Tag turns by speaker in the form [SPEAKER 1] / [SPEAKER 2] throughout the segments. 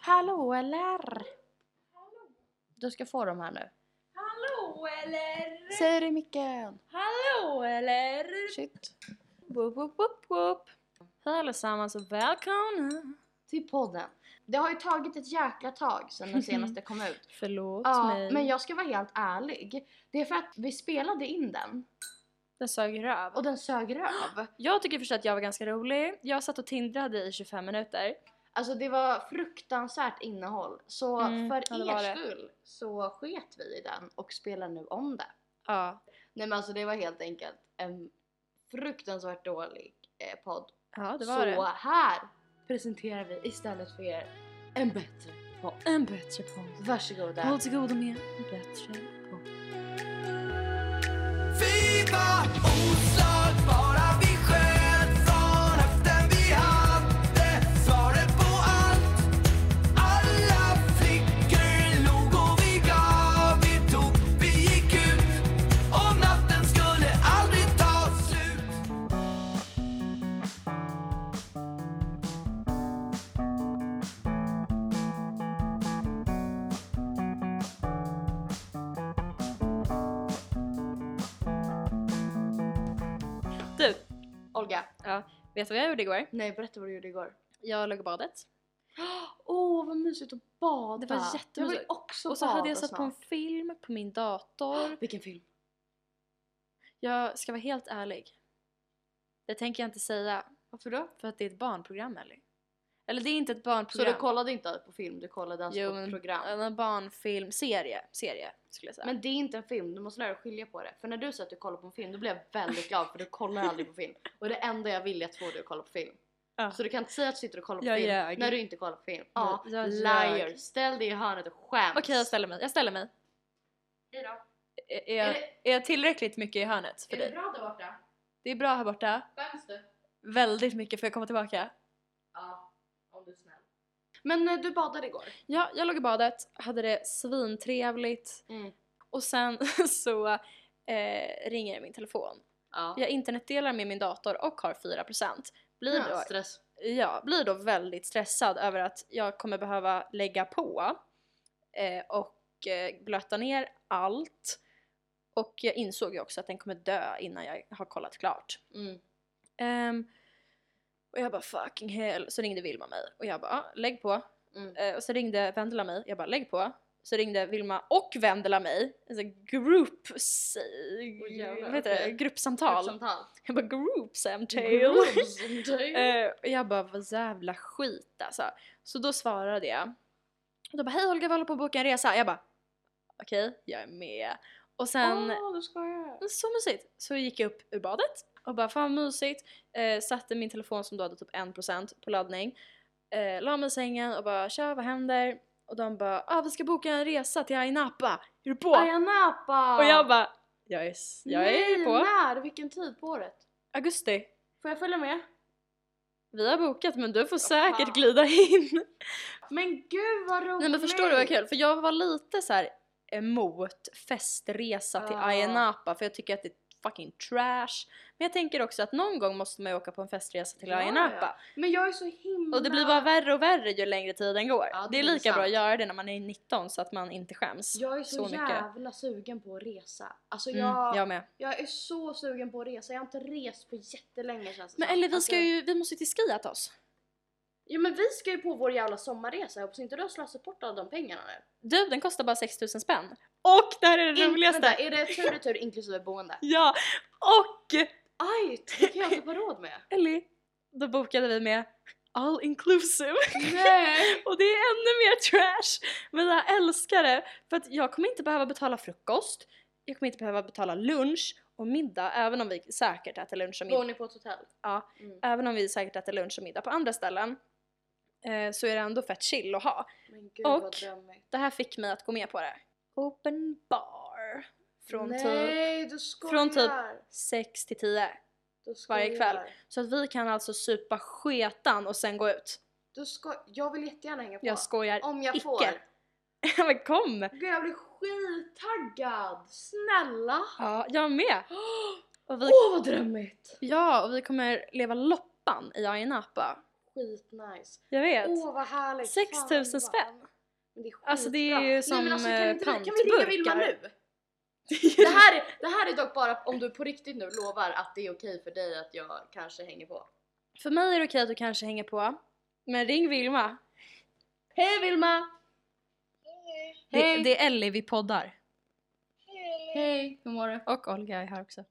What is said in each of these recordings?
[SPEAKER 1] Hallå eller? Du ska få dem här nu.
[SPEAKER 2] Hallå eller?
[SPEAKER 1] Säg det i micken.
[SPEAKER 2] Hallå eller?
[SPEAKER 1] Shit.
[SPEAKER 2] Woop, woop, woop, woop. Hej allesammans och välkomna!
[SPEAKER 1] Till podden. Det har ju tagit ett jäkla tag sedan den senaste kom ut.
[SPEAKER 2] Förlåt
[SPEAKER 1] Ja,
[SPEAKER 2] mig.
[SPEAKER 1] men jag ska vara helt ärlig. Det är för att vi spelade in den
[SPEAKER 2] Den sög röv.
[SPEAKER 1] och den sög röv.
[SPEAKER 2] Jag tycker först att jag var ganska rolig. Jag satt och tindrade i 25 minuter.
[SPEAKER 1] Alltså det var fruktansvärt innehåll. Så
[SPEAKER 2] Mm, ja,
[SPEAKER 1] för
[SPEAKER 2] det var
[SPEAKER 1] er
[SPEAKER 2] det.
[SPEAKER 1] skull så sket vi i den och spelar nu om det.
[SPEAKER 2] Ja.
[SPEAKER 1] Nej men alltså det var helt enkelt en fruktansvärt dålig eh, podd.
[SPEAKER 2] Ja, det var
[SPEAKER 1] så
[SPEAKER 2] det.
[SPEAKER 1] här presenterar vi istället för er en bättre podd.
[SPEAKER 2] En bättre podd.
[SPEAKER 1] Varsågoda.
[SPEAKER 2] Håll till godo med en bättre podd.
[SPEAKER 3] Vi var oslagbara, vi sköt från höften Vi hade svaret på allt Alla flickor log och vi gav, vi tog, vi gick ut Och natten skulle aldrig ta slut
[SPEAKER 2] Du,
[SPEAKER 1] Olga.
[SPEAKER 2] vet du vad jag gjorde igår?
[SPEAKER 1] Nej berätta vad du gjorde igår.
[SPEAKER 2] Jag låg i badet.
[SPEAKER 1] Åh oh, vad mysigt att bada.
[SPEAKER 2] Det var
[SPEAKER 1] Jag vill
[SPEAKER 2] jättemysigt.
[SPEAKER 1] också
[SPEAKER 2] och så
[SPEAKER 1] bada
[SPEAKER 2] hade jag satt
[SPEAKER 1] snart.
[SPEAKER 2] på en film på min dator.
[SPEAKER 1] Vilken film?
[SPEAKER 2] Jag ska vara helt ärlig. Det tänker jag inte säga
[SPEAKER 1] Varför då?
[SPEAKER 2] för att det är ett barnprogram eller? Eller det är inte ett
[SPEAKER 1] Så
[SPEAKER 2] barnprogram.
[SPEAKER 1] du kollade inte på film, du kollade alltså
[SPEAKER 2] Jo,
[SPEAKER 1] på
[SPEAKER 2] men-
[SPEAKER 1] program.
[SPEAKER 2] En barnfilm, serie, serie skulle jag säga.
[SPEAKER 1] Men det är inte en film, du måste lära dig att skilja på det. För när du sa att du kollar på en film, då blev jag väldigt glad för du kollar aldrig på film. Och det enda jag vill är att få dig att kolla på film. Så
[SPEAKER 2] Ja.
[SPEAKER 1] Alltså, du kan inte säga att du sitter och kollar på
[SPEAKER 2] Jag
[SPEAKER 1] film
[SPEAKER 2] ljög.
[SPEAKER 1] när du inte kollar på film. Ja,
[SPEAKER 2] Jag- jag
[SPEAKER 1] liar!
[SPEAKER 2] ljög.
[SPEAKER 1] Ställ dig i hörnet och skäms!
[SPEAKER 2] Okej jag ställer mig, jag ställer mig.
[SPEAKER 1] Hejdå.
[SPEAKER 2] Är, är,
[SPEAKER 1] Är
[SPEAKER 2] jag, är jag tillräckligt mycket i hörnet för dig?
[SPEAKER 1] bra där borta?
[SPEAKER 2] Det är bra här borta.
[SPEAKER 1] Skäms du?
[SPEAKER 2] Väldigt mycket, får jag komma tillbaka?
[SPEAKER 1] Ja, om du är snäll. Men eh, du badade igår?
[SPEAKER 2] Ja, jag låg i badet, hade det svintrevligt
[SPEAKER 1] Mm.
[SPEAKER 2] och sen så eh, ringer min telefon.
[SPEAKER 1] Ja.
[SPEAKER 2] Jag internetdelar med min dator och har 4%. Blir
[SPEAKER 1] ja
[SPEAKER 2] då
[SPEAKER 1] stress.
[SPEAKER 2] jag blir då väldigt stressad över att jag kommer behöva lägga på eh, och eh, blöta ner allt. Och jag insåg ju också att den kommer dö innan jag har kollat klart.
[SPEAKER 1] Mm.
[SPEAKER 2] Ehm, och jag bara fucking hell. Så ringde Vilma mig och jag bara "Ah, lägg på.
[SPEAKER 1] Mm.
[SPEAKER 2] Eh, och så ringde Vendela mig, jag bara lägg på. Så ringde Vilma och Vendela mig, alltså group,
[SPEAKER 1] Åh, jävlar,
[SPEAKER 2] vad heter det?
[SPEAKER 1] okej.
[SPEAKER 2] gruppsamtal.
[SPEAKER 1] Gruppsamtal.
[SPEAKER 2] Jag bara group samtale.
[SPEAKER 1] Gruppsamtal.
[SPEAKER 2] Eh, och jag bara, vad jävla skit alltså. Så då svarade jag. Och då bara, hej Olga vi håller på att boka en resa. Jag bara, okej jag är med. Och sen,
[SPEAKER 1] Åh, du skojar.
[SPEAKER 2] så mysigt. Så gick jag upp ur badet och bara, fan vad mysigt. Eh, satte min telefon som då hade typ 1% på laddning. Eh, la mig i sängen och bara, tja vad händer? Och de bara, ah vi ska boka en resa till Ayia Napa. Är du på?
[SPEAKER 1] Ayia Napa!
[SPEAKER 2] Och jag bara, jag är, s- jag är
[SPEAKER 1] Nej,
[SPEAKER 2] på.
[SPEAKER 1] när? Vilken tid på året?
[SPEAKER 2] Augusti.
[SPEAKER 1] Får jag följa med?
[SPEAKER 2] Vi har bokat men du
[SPEAKER 1] fan.
[SPEAKER 2] får säkert glida in.
[SPEAKER 1] Men gud vad roligt!
[SPEAKER 2] Nej men förstår du vad kul? För jag var lite så här emot festresa till
[SPEAKER 1] Ja.
[SPEAKER 2] Ayia Napa för jag tycker att det är fucking trash. Men jag tänker också att någon gång måste man ju åka på en festresa till
[SPEAKER 1] Ja,
[SPEAKER 2] Ayia Napa.
[SPEAKER 1] Men jag är så himla...
[SPEAKER 2] Och det blir bara värre och värre ju längre tiden går.
[SPEAKER 1] Ja, det
[SPEAKER 2] det är
[SPEAKER 1] blir
[SPEAKER 2] lika bra att
[SPEAKER 1] sant.
[SPEAKER 2] göra det när man är 19 så att man inte skäms.
[SPEAKER 1] Jag är så,
[SPEAKER 2] så mycket.
[SPEAKER 1] jävla sugen på att resa. Alltså
[SPEAKER 2] Mm,
[SPEAKER 1] jag,
[SPEAKER 2] jag med.
[SPEAKER 1] jag är så sugen på att resa. Jag har inte rest på jättelänge känns det
[SPEAKER 2] Men
[SPEAKER 1] som.
[SPEAKER 2] eller vi
[SPEAKER 1] Alltså-
[SPEAKER 2] ska ju, vi måste ju till Skiatos.
[SPEAKER 1] Ja men vi ska ju på vår jävla sommarresa. Jag hoppas inte du har slösat bort alla de pengarna nu.
[SPEAKER 2] Du den kostar bara 6000 spänn. Och det här är det
[SPEAKER 1] In-
[SPEAKER 2] roligaste!
[SPEAKER 1] Vänta, är det tur och tur inklusive boende?
[SPEAKER 2] Ja! Och
[SPEAKER 1] Aj! Det kan jag inte ha råd med.
[SPEAKER 2] Ellie, då bokade vi med all inclusive.
[SPEAKER 1] Nej!
[SPEAKER 2] Och det är ännu mer trash! Men jag älskar det! För att jag kommer inte behöva betala frukost, jag kommer inte behöva betala lunch och middag även om vi säkert äter lunch och
[SPEAKER 1] Bor
[SPEAKER 2] middag,
[SPEAKER 1] ni på ett hotell?
[SPEAKER 2] Ja.
[SPEAKER 1] Mm.
[SPEAKER 2] även om vi säkert äter lunch och middag på andra ställen eh, så är det ändå fett chill att ha.
[SPEAKER 1] Men gud
[SPEAKER 2] Och-
[SPEAKER 1] vad drömmigt.
[SPEAKER 2] Det här fick mig att gå med på det. Open bar. Från typ
[SPEAKER 1] Nej, du skojar!
[SPEAKER 2] från typ 6 till 10.
[SPEAKER 1] Du
[SPEAKER 2] varje
[SPEAKER 1] skojar.
[SPEAKER 2] kväll. Så att vi kan alltså supa sketan och sen gå ut.
[SPEAKER 1] Du ska, jag vill jättegärna hänga på.
[SPEAKER 2] Jag skojar.
[SPEAKER 1] Om jag
[SPEAKER 2] icke.
[SPEAKER 1] får.
[SPEAKER 2] Men kom!
[SPEAKER 1] Gud jag blir skittaggad! Snälla!
[SPEAKER 2] Ja, jag med!
[SPEAKER 1] Åh
[SPEAKER 2] Och vi
[SPEAKER 1] vad drömmigt!
[SPEAKER 2] Ja, och vi kommer leva loppan i Ayia Napa.
[SPEAKER 1] skitnice.
[SPEAKER 2] Jag vet.
[SPEAKER 1] Åh vad härligt.
[SPEAKER 2] 6
[SPEAKER 1] Fan,
[SPEAKER 2] 000
[SPEAKER 1] vad-
[SPEAKER 2] spänn.
[SPEAKER 1] Men det är skitbra.
[SPEAKER 2] Alltså det är ju som
[SPEAKER 1] Nej, men alltså, kan,
[SPEAKER 2] eh,
[SPEAKER 1] inte vi, kan vi ringa Vilma
[SPEAKER 2] pantburkar.
[SPEAKER 1] nu? Det här, är- det här är dock bara om du på riktigt nu lovar att det är okej för dig att jag kanske hänger på.
[SPEAKER 2] För mig är det okej att du kanske hänger på. Men ring Vilma.
[SPEAKER 1] Hej Vilma! Hej.
[SPEAKER 2] Det, det är Ellie, vi poddar.
[SPEAKER 1] Hej, hur mår du?
[SPEAKER 2] Och Olga är här också.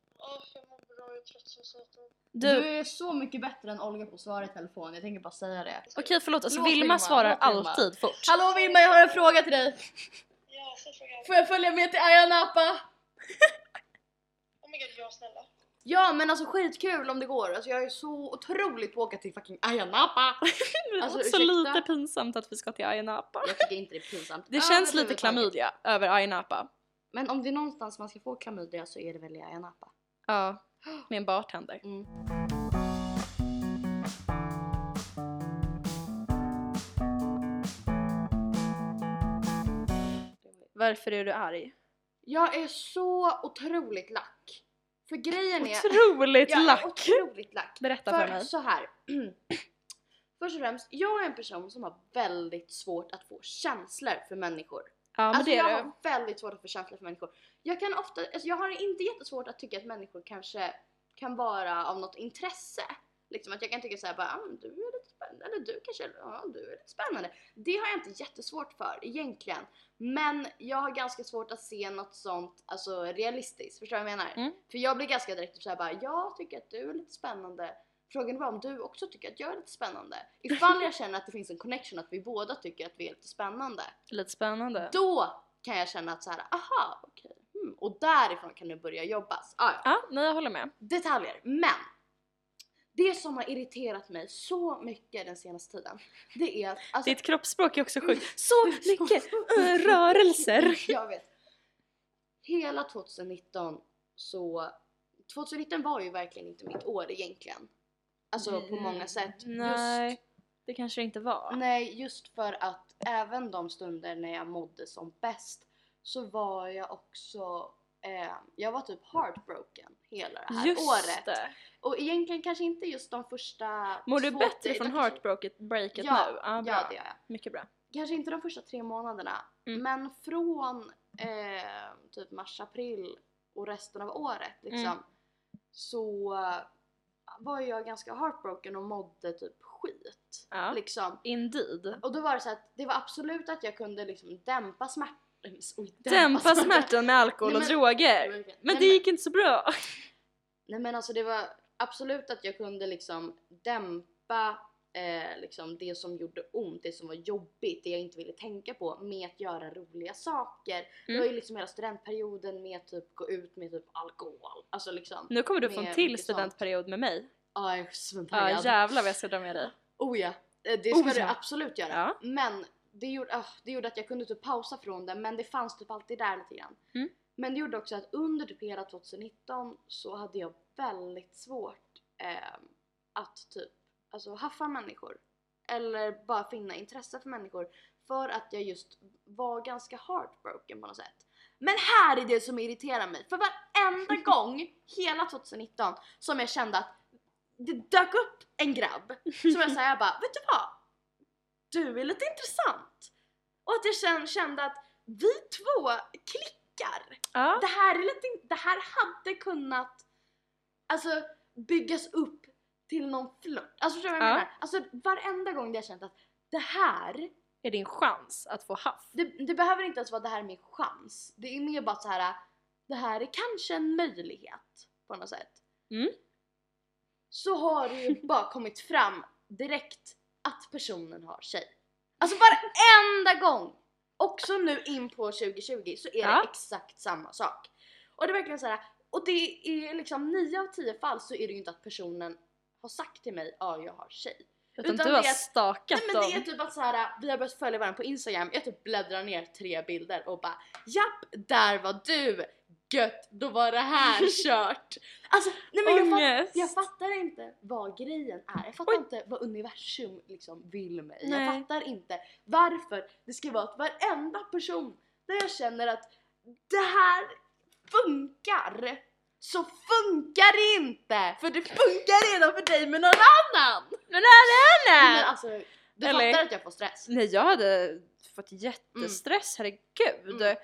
[SPEAKER 2] Du,
[SPEAKER 1] Du. är så mycket bättre än Olga på att svara i telefon, jag tänker bara säga det.
[SPEAKER 2] okej förlåt, alltså
[SPEAKER 1] Låt
[SPEAKER 2] Vilma,
[SPEAKER 1] Vilma,
[SPEAKER 2] svarar
[SPEAKER 1] låt Vilma.
[SPEAKER 2] alltid fort.
[SPEAKER 1] Hallå Vilma, jag har en fråga till dig!
[SPEAKER 4] Ja, säg frågan.
[SPEAKER 1] Får jag följa med till Ayia Napa?
[SPEAKER 4] Oh my god, ja snälla.
[SPEAKER 1] Ja men alltså skitkul om det går, alltså jag är så otroligt på att åka till fucking Ayia Napa!
[SPEAKER 2] det
[SPEAKER 1] alltså,
[SPEAKER 2] låter så
[SPEAKER 1] ursäkta.
[SPEAKER 2] lite pinsamt att vi ska till Ayia Napa.
[SPEAKER 1] Jag tycker inte det är pinsamt.
[SPEAKER 2] Det känns lite
[SPEAKER 1] överhuvudtaget.
[SPEAKER 2] klamydia över Ayia Napa.
[SPEAKER 1] Men om det är någonstans man ska få klamydia så är det väl i Ayia Napa.
[SPEAKER 2] Ja, med en bartender.
[SPEAKER 1] Mm.
[SPEAKER 2] Varför är du arg?
[SPEAKER 1] Jag är så otroligt lack. För grejen är...
[SPEAKER 2] Otroligt
[SPEAKER 1] jag
[SPEAKER 2] lack!
[SPEAKER 1] är otroligt lack.
[SPEAKER 2] Berätta för,
[SPEAKER 1] För
[SPEAKER 2] mig.
[SPEAKER 1] så här. Först och främst, jag är en person som har väldigt svårt att få känslor för människor.
[SPEAKER 2] Ja men
[SPEAKER 1] alltså
[SPEAKER 2] det
[SPEAKER 1] jag
[SPEAKER 2] är du.
[SPEAKER 1] har väldigt svårt att få känslor för människor. Jag kan ofta, alltså jag har inte jättesvårt att tycka att människor kanske kan vara av något intresse. Liksom att jag kan tycka såhär bara, ah, men du är lite spännande, eller du kanske, ja du är lite spännande. Det har jag inte jättesvårt för egentligen. Men jag har ganska svårt att se något sånt, alltså realistiskt, förstår du vad jag menar?
[SPEAKER 2] Mm.
[SPEAKER 1] För jag blir ganska direkt såhär bara, jag tycker att du är lite spännande. Frågan är bara om du också tycker att jag är lite spännande. Ifall jag känner att det finns en connection att vi båda tycker att vi är lite spännande
[SPEAKER 2] Lite spännande.
[SPEAKER 1] då kan jag känna att så här, aha okej. Hmm. Och därifrån kan det börja jobbas. Ah, ja.
[SPEAKER 2] Ja, nej jag håller med.
[SPEAKER 1] Alltså- Detaljer. Men! Det som har irriterat mig så mycket den senaste tiden, det är att... Alltså,
[SPEAKER 2] Ditt kroppsspråk är också sjukt. Så mycket eh, rörelser!
[SPEAKER 1] jag vet. Hela 2019 så... 2019 var ju verkligen inte mitt år egentligen. Alltså på många sätt.
[SPEAKER 2] Nej,
[SPEAKER 1] Just,
[SPEAKER 2] det kanske det inte var.
[SPEAKER 1] nej, just för att även de stunder när jag mådde som bäst så var jag också, eh, jag var typ heartbroken hela det här
[SPEAKER 2] Just
[SPEAKER 1] året.
[SPEAKER 2] det.
[SPEAKER 1] Och egentligen kanske inte just de första
[SPEAKER 2] Mår du
[SPEAKER 1] två-
[SPEAKER 2] bättre från
[SPEAKER 1] kanske-
[SPEAKER 2] heartbreaket breaket
[SPEAKER 1] Ja,
[SPEAKER 2] nu? Ah,
[SPEAKER 1] Ja,
[SPEAKER 2] bra.
[SPEAKER 1] det gör jag.
[SPEAKER 2] Mycket bra.
[SPEAKER 1] Kanske inte de första tre månaderna
[SPEAKER 2] Mm.
[SPEAKER 1] men från eh, typ mars-april och resten av året liksom
[SPEAKER 2] Mm.
[SPEAKER 1] så eh, var jag ganska heartbroken och mådde typ skit.
[SPEAKER 2] Ja.
[SPEAKER 1] Liksom.
[SPEAKER 2] Indeed.
[SPEAKER 1] Och då var det så att det var absolut att jag kunde liksom dämpa smärtan. oj,
[SPEAKER 2] Dämpa smärtan med alkohol
[SPEAKER 1] alltså, Nej,
[SPEAKER 2] och
[SPEAKER 1] men-
[SPEAKER 2] droger.
[SPEAKER 1] Men,
[SPEAKER 2] Men det gick inte så bra.
[SPEAKER 1] Nej men alltså det var absolut att jag kunde liksom dämpa eh, liksom det som gjorde ont, det som var jobbigt, det jag inte ville tänka på med att göra roliga saker. Det
[SPEAKER 2] Mm.
[SPEAKER 1] var ju liksom hela studentperioden med att typ gå ut med typ alkohol. Alltså liksom,
[SPEAKER 2] Nu kommer du få en
[SPEAKER 1] Med
[SPEAKER 2] till
[SPEAKER 1] mycket sånt.
[SPEAKER 2] studentperiod med mig.
[SPEAKER 1] ja jag är svintaggad.
[SPEAKER 2] Mm. Ja jävlar vad jag ska dra med dig.
[SPEAKER 1] Oh ja, eh, det ska
[SPEAKER 2] Oh
[SPEAKER 1] du
[SPEAKER 2] ja.
[SPEAKER 1] absolut göra.
[SPEAKER 2] Ja.
[SPEAKER 1] Men det gjorde, ah, det gjorde att jag kunde typ pausa från det men det fanns typ alltid där lite grann.
[SPEAKER 2] Mm.
[SPEAKER 1] Men det gjorde också att under typ hela 2019 så hade jag väldigt svårt ehm, att typ alltså haffa människor. Eller bara finna intresse för människor. För att jag just var ganska heartbroken på något sätt. Men här är det som irriterar mig. För varenda gång hela 2019 som jag kände att det dök upp en grabb som jag säger jag bara, vet du vad? Du är lite intressant. Och att jag sen kände att vi två klickar.
[SPEAKER 2] Ja.
[SPEAKER 1] Det här, är lite, in- det här hade kunnat alltså, byggas upp till någon flört. Alltså förstår du vad jag
[SPEAKER 2] Ja.
[SPEAKER 1] menar? Alltså varenda gång det jag känt att det här,
[SPEAKER 2] Är din chans att få haff?
[SPEAKER 1] det, det behöver inte ens vara det här är min chans. Det är mer bara så här. det här är kanske en möjlighet på något sätt.
[SPEAKER 2] Mm.
[SPEAKER 1] Så har det ju bara kommit fram direkt att personen har tjej. Alltså varenda gång! Också nu in på 2020 så är
[SPEAKER 2] Ja.
[SPEAKER 1] det exakt samma sak. Och det är verkligen så här. och det är liksom 9 av 10 fall så är det ju inte att personen har sagt till mig ja jag har tjej.
[SPEAKER 2] Utan,
[SPEAKER 1] Utan
[SPEAKER 2] du har
[SPEAKER 1] det är-
[SPEAKER 2] stakat
[SPEAKER 1] Nej men det är
[SPEAKER 2] dem.
[SPEAKER 1] typ att såhär, vi har börjat följa varandra på instagram, jag typ bläddrar ner tre bilder och bara Japp, där var du! Gött, då var det här kört! Alltså nej men jag, fatt,
[SPEAKER 2] Ångest.
[SPEAKER 1] jag fattar inte vad grejen är, jag fattar
[SPEAKER 2] Oj.
[SPEAKER 1] inte vad universum liksom vill mig.
[SPEAKER 2] Nej.
[SPEAKER 1] Jag fattar inte varför det ska vara att varenda person där jag känner att det här funkar så funkar det inte! För det funkar redan för dig med någon annan!
[SPEAKER 2] Men
[SPEAKER 1] Nej, men
[SPEAKER 2] alla!
[SPEAKER 1] alltså, du
[SPEAKER 2] Eller-
[SPEAKER 1] fattar att jag får stress?
[SPEAKER 2] Nej jag hade fått jättestress, herregud.
[SPEAKER 1] Mm.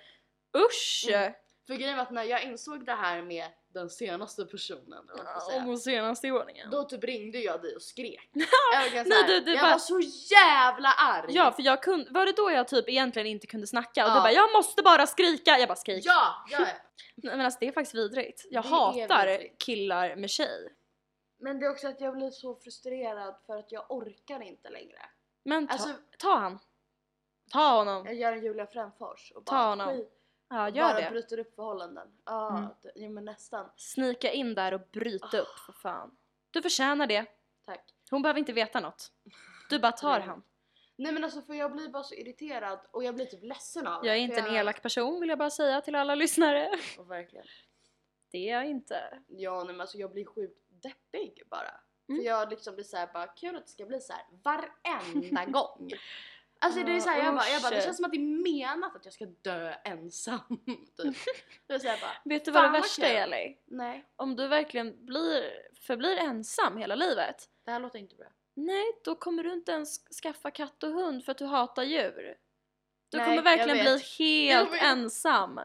[SPEAKER 2] Usch!
[SPEAKER 1] Mm. För grejen var att när jag insåg det här med den senaste personen, eller vad man ska säga,
[SPEAKER 2] Om hon senast i ordningen.
[SPEAKER 1] då typ ringde jag dig och skrek. jag var, ganska såhär,
[SPEAKER 2] Nej, du- du
[SPEAKER 1] jag
[SPEAKER 2] bara-
[SPEAKER 1] var så jävla arg!
[SPEAKER 2] Ja för jag kunde, var det då jag typ egentligen inte kunde snacka och
[SPEAKER 1] Ja.
[SPEAKER 2] du bara jag måste bara skrika, jag bara skrik.
[SPEAKER 1] ja, ja, ja.
[SPEAKER 2] Nej, men alltså det är faktiskt vidrigt. Jag
[SPEAKER 1] Det är
[SPEAKER 2] hatar
[SPEAKER 1] vidrigt.
[SPEAKER 2] killar med tjej.
[SPEAKER 1] Men det är också att jag blir så frustrerad för att jag orkar inte längre.
[SPEAKER 2] Men ta,
[SPEAKER 1] Alltså
[SPEAKER 2] ta han. Ta honom.
[SPEAKER 1] jag gör en Julia Fränfors och
[SPEAKER 2] Ta
[SPEAKER 1] bara
[SPEAKER 2] honom.
[SPEAKER 1] skit-
[SPEAKER 2] Ja gör
[SPEAKER 1] bara
[SPEAKER 2] det.
[SPEAKER 1] bryter upp förhållanden. Ja,
[SPEAKER 2] Mm.
[SPEAKER 1] det- jo, men nästan.
[SPEAKER 2] Snika in där och bryt upp
[SPEAKER 1] Ah.
[SPEAKER 2] för fan. Du förtjänar det.
[SPEAKER 1] Tack.
[SPEAKER 2] Hon behöver inte veta något. Du bara tar
[SPEAKER 1] Nej.
[SPEAKER 2] han.
[SPEAKER 1] Nej men alltså för jag blir bara så irriterad och jag blir typ ledsen av det,
[SPEAKER 2] Jag är
[SPEAKER 1] för
[SPEAKER 2] inte en elak person vill jag bara säga till alla lyssnare.
[SPEAKER 1] Och verkligen.
[SPEAKER 2] Det är jag inte.
[SPEAKER 1] Ja nej, men alltså jag blir sjukt deppig bara.
[SPEAKER 2] Mm.
[SPEAKER 1] För jag liksom blir såhär bara kul att det ska bli så här varenda gång. Alltså det är
[SPEAKER 2] Ja,
[SPEAKER 1] såhär jag bara, jag bara det
[SPEAKER 2] usch.
[SPEAKER 1] känns som att det är menat att jag ska dö ensam. Typ. Det är såhär bara
[SPEAKER 2] Vet du vad det
[SPEAKER 1] Fan, vad
[SPEAKER 2] värsta
[SPEAKER 1] kul.
[SPEAKER 2] är Ellie?
[SPEAKER 1] nej
[SPEAKER 2] Om du verkligen blir, förblir ensam hela livet.
[SPEAKER 1] det här låter inte bra.
[SPEAKER 2] Nej, då kommer du inte ens skaffa katt och hund för att du hatar djur. Du
[SPEAKER 1] Nej,
[SPEAKER 2] kommer
[SPEAKER 1] jag vet.
[SPEAKER 2] verkligen bli helt
[SPEAKER 1] Jag vet.
[SPEAKER 2] ensam.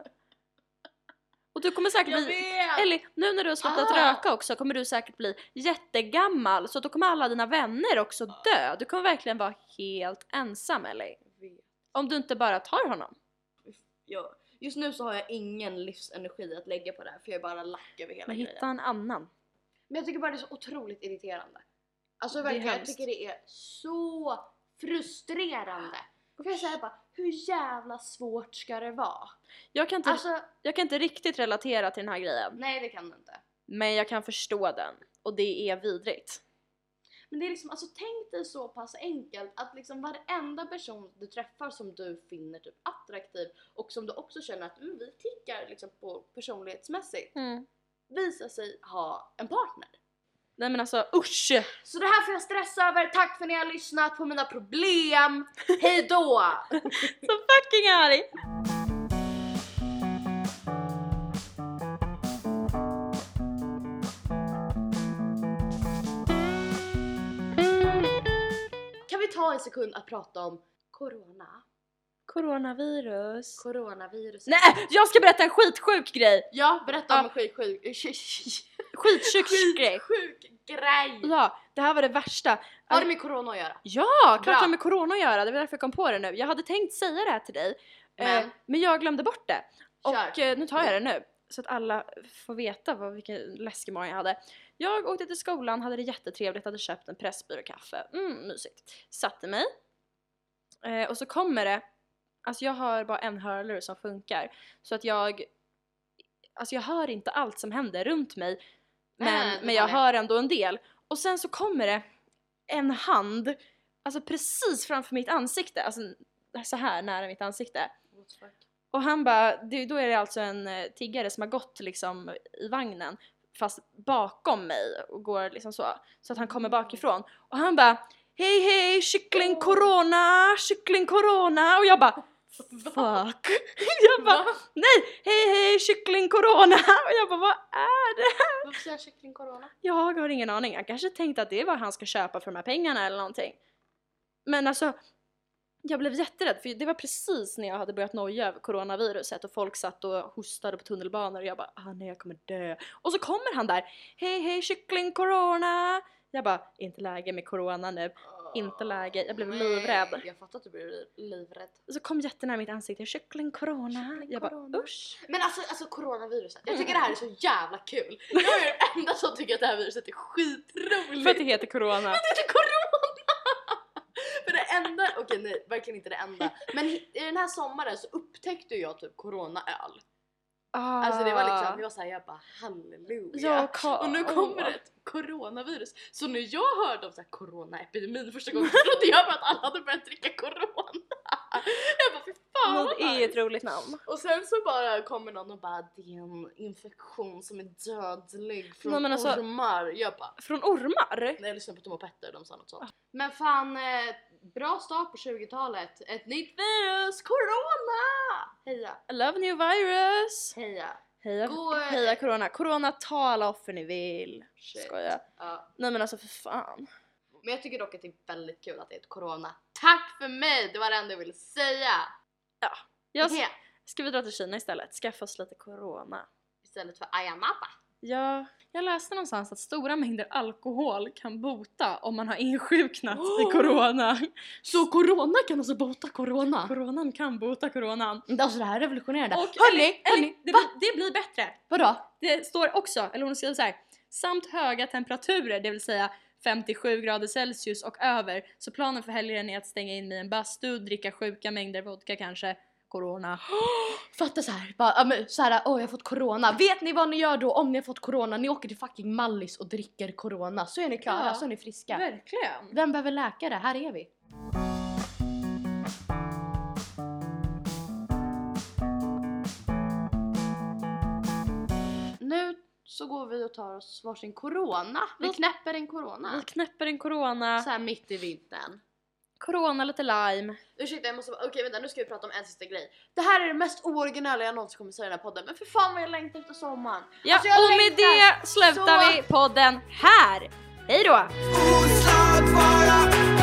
[SPEAKER 2] Och du kommer säkert
[SPEAKER 1] Jag
[SPEAKER 2] bli...
[SPEAKER 1] vet!
[SPEAKER 2] Ellie, nu när du har slutat
[SPEAKER 1] Ah.
[SPEAKER 2] röka också kommer du säkert bli jättegammal så då kommer alla dina vänner också
[SPEAKER 1] Ah.
[SPEAKER 2] dö. Du kommer verkligen vara helt ensam Ellie.
[SPEAKER 1] Jag vet.
[SPEAKER 2] Om du inte bara tar honom.
[SPEAKER 1] Ja. Just nu så har jag ingen livsenergi att lägga på det här för jag är bara lack över hela
[SPEAKER 2] Men
[SPEAKER 1] grejen.
[SPEAKER 2] hitta en annan.
[SPEAKER 1] Men jag tycker bara det är så otroligt irriterande. Alltså
[SPEAKER 2] Det är
[SPEAKER 1] verkligen, jag
[SPEAKER 2] hemskt.
[SPEAKER 1] tycker det är så frustrerande. Och jag säger bara, hur jävla svårt ska det vara?
[SPEAKER 2] Typ- Jag kan, inte,
[SPEAKER 1] Alltså,
[SPEAKER 2] jag kan inte riktigt relatera till den här grejen.
[SPEAKER 1] nej det kan du inte.
[SPEAKER 2] Men jag kan förstå den. Och det är vidrigt.
[SPEAKER 1] Men det är liksom, alltså tänk dig så pass enkelt att liksom varenda person du träffar som du finner typ attraktiv och som du också känner att mm, vi tickar liksom på personlighetsmässigt visar sig ha en partner.
[SPEAKER 2] Nej men alltså usch!
[SPEAKER 1] Så det här får jag stressa över, tack för att ni har lyssnat på mina problem. Hejdå!
[SPEAKER 2] Så fucking arg!
[SPEAKER 1] Kan vi ta en sekund att prata om corona?
[SPEAKER 2] Coronavirus.
[SPEAKER 1] Coronaviruset.
[SPEAKER 2] Nej! Jag ska berätta en skitsjuk grej!
[SPEAKER 1] Ja, berätta om
[SPEAKER 2] Ja.
[SPEAKER 1] en sjuk, sjuk, sjuk,
[SPEAKER 2] Skitsjuk grej!
[SPEAKER 1] sjuk grej!
[SPEAKER 2] Ja, det här var det värsta.
[SPEAKER 1] Har det med corona att göra?
[SPEAKER 2] Ja,
[SPEAKER 1] Bra.
[SPEAKER 2] klart det har med corona att göra, det var därför jag kom på det nu. Jag hade tänkt säga det här till dig, men,
[SPEAKER 1] Men?
[SPEAKER 2] eh, men jag glömde bort det. Och
[SPEAKER 1] Kör.
[SPEAKER 2] eh, nu tar jag det nu, så att alla får veta vad, vilken läskig morgon jag hade. Jag åkte till skolan, hade det jättetrevligt, hade köpt en Pressbyråkaffe. Mm, mysigt. Satte mig. Eh, och så kommer det, alltså jag har bara en hörlur som funkar. Så att jag, alltså jag hör inte allt som händer runt mig. Men,
[SPEAKER 1] Nej, Äh, det
[SPEAKER 2] men jag
[SPEAKER 1] håller jag.
[SPEAKER 2] hör ändå en del. Och sen så kommer det en hand, alltså precis framför mitt ansikte, alltså så här nära mitt ansikte.
[SPEAKER 1] What the fuck?
[SPEAKER 2] Och han bara, det- då är det alltså en eh, tiggare som har gått liksom i vagnen fast bakom mig och går liksom så, så att han kommer bakifrån. Och han bara, hej hej kyckling corona, kyckling corona och jag bara Fuck! Jag bara nej! Hej hej kyckling corona! Och jag bara vad är det?
[SPEAKER 1] Varför säger kyckling corona?
[SPEAKER 2] Jag har ingen aning. Han kanske tänkte att det var vad han ska köpa för de här pengarna eller någonting. Men alltså, jag blev jätterädd för det var precis när jag hade börjat noja över coronaviruset och folk satt och hostade på tunnelbanor och jag bara ah, nej jag kommer dö. Och så kommer han där, hej hej kyckling corona! Jag bara, inte läge med corona nu. Inte läge, jag blev
[SPEAKER 1] Nej,
[SPEAKER 2] livrädd.
[SPEAKER 1] Jag fattar att du blev liv- livrädd.
[SPEAKER 2] Och så kom jättenära mitt ansikte, kyckling corona.
[SPEAKER 1] Kyckling
[SPEAKER 2] jag
[SPEAKER 1] corona.
[SPEAKER 2] bara usch.
[SPEAKER 1] Men alltså, alltså coronaviruset, jag tycker det här är så jävla kul. Jag är den enda som tycker att det här viruset är skitroligt.
[SPEAKER 2] För att det heter corona.
[SPEAKER 1] det är corona! För det enda, okej nej verkligen inte det enda, men i den här sommaren så upptäckte jag typ coronaöl.
[SPEAKER 2] Ah.
[SPEAKER 1] Alltså det var liksom, jag var såhär jag bara halleluja.
[SPEAKER 2] Ja, ka-
[SPEAKER 1] och nu kommer
[SPEAKER 2] åh.
[SPEAKER 1] det ett coronavirus. Så när jag hörde om så här coronaepidemin första gången så trodde jag bara att alla hade börjat dricka corona. Jag bara fy fan
[SPEAKER 2] Men
[SPEAKER 1] vad
[SPEAKER 2] Det är
[SPEAKER 1] nice.
[SPEAKER 2] ett roligt namn.
[SPEAKER 1] Och sen så bara kommer någon och bara det är en infektion som är dödlig från
[SPEAKER 2] Nej, men alltså-
[SPEAKER 1] ormar. Jag bara
[SPEAKER 2] Från ormar?
[SPEAKER 1] Nej, jag lyssnade på Tom och Petter, de sa något sånt. Ah. Men fan, eh, bra start på 20-talet. Ett nytt virus, corona! Heja!
[SPEAKER 2] I love new virus!
[SPEAKER 1] Heja!
[SPEAKER 2] Heja,
[SPEAKER 1] Gå-
[SPEAKER 2] heja corona! Corona, ta alla offer ni vill!
[SPEAKER 1] Shit.
[SPEAKER 2] Skoja.
[SPEAKER 1] Ja.
[SPEAKER 2] Nej men alltså för fan.
[SPEAKER 1] Men jag tycker dock att det är väldigt kul att det är ett corona. Tack för mig! Det var det enda jag ville säga!
[SPEAKER 2] Jag,
[SPEAKER 1] He.
[SPEAKER 2] ska vi dra till Kina istället? Skaffa oss lite corona.
[SPEAKER 1] Istället för ayamapa.
[SPEAKER 2] Ja, jag läste någonstans att stora mängder alkohol kan bota om man har insjuknat i corona.
[SPEAKER 1] Så corona kan alltså bota corona?
[SPEAKER 2] Coronan kan bota coronan.
[SPEAKER 1] Alltså det här är revolutionerande.
[SPEAKER 2] Och-
[SPEAKER 1] Hörni,
[SPEAKER 2] Eller,
[SPEAKER 1] hörni,
[SPEAKER 2] det,
[SPEAKER 1] va?
[SPEAKER 2] blir- det blir bättre!
[SPEAKER 1] Vadå?
[SPEAKER 2] Det står också, eller hon skriver så här. Samt höga temperaturer, det vill säga 57 grader Celsius och över. Så planen för helgen är att stänga in mig i en bastu, dricka sjuka mängder vodka kanske. Corona.
[SPEAKER 1] Fatta så här, bara, ja, men så här, åh jag har fått corona. Vet ni vad ni gör då om ni har fått corona? Ni åker till fucking Mallis och dricker corona. Så är ni klara,
[SPEAKER 2] Ja.
[SPEAKER 1] så är ni friska.
[SPEAKER 2] Verkligen!
[SPEAKER 1] Vem behöver läkare? Här är vi. Nu så går vi och tar oss varsin corona. Vi
[SPEAKER 2] Vi-
[SPEAKER 1] knäpper en
[SPEAKER 2] Vi
[SPEAKER 1] corona.
[SPEAKER 2] knäpper en corona,
[SPEAKER 1] Så här mitt i vintern.
[SPEAKER 2] corona lite lime.
[SPEAKER 1] Ursäkta jag måste bara, okej vänta nu ska vi prata om en sista grej. Det här är det mest ooriginella jag någonsin kommer säga i den här podden men för fan vad jag längtar efter sommaren.
[SPEAKER 2] Ja,
[SPEAKER 1] Alltså, jag
[SPEAKER 2] och med
[SPEAKER 1] längtar
[SPEAKER 2] det slutar
[SPEAKER 1] så-
[SPEAKER 2] vi podden här. Hej då!
[SPEAKER 3] oslagbara